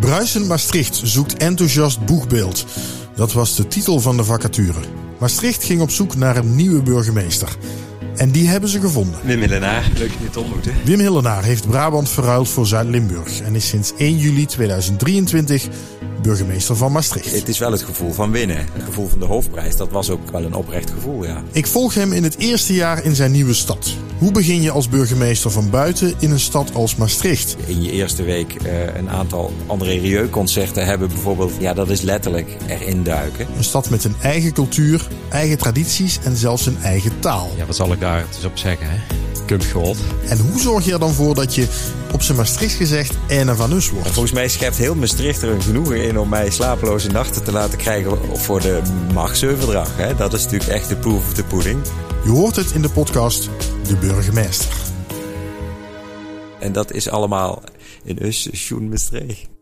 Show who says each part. Speaker 1: Bruisen Maastricht zoekt enthousiast boegbeeld. Dat was de titel van de vacature. Maastricht ging op zoek naar een nieuwe burgemeester. En die hebben ze gevonden.
Speaker 2: Wim Millenaar, leuk je dit te ontmoeten.
Speaker 1: Wim Hillenaar heeft Brabant verruild voor Zuid-Limburg en is sinds 1 juli 2023 burgemeester van Maastricht.
Speaker 2: Het is wel het gevoel van winnen. Het gevoel van de hoofdprijs, dat was ook wel een oprecht gevoel, ja.
Speaker 1: Ik volg hem in het eerste jaar in zijn nieuwe stad. Hoe begin je als burgemeester van buiten in een stad als Maastricht?
Speaker 2: In je eerste week eh, een aantal André Rieu-concerten hebben bijvoorbeeld. Ja, dat is letterlijk erin duiken.
Speaker 1: Een stad met een eigen cultuur, eigen tradities en zelfs een eigen taal.
Speaker 3: Ja, wat zal ik daar dus op zeggen, hè? Kump gehoord.
Speaker 1: En hoe zorg je er dan voor dat je op zijn Maastricht gezegd en een van us wordt?
Speaker 2: Volgens mij schept heel Maastricht er een genoegen in om mij slapeloze nachten te laten krijgen voor de machtsoverdracht. Hè? Dat is natuurlijk echt de proof of the pudding.
Speaker 1: Je hoort het in de podcast De Burgemeester.
Speaker 2: En dat is allemaal in Us, Schoen, Maastricht.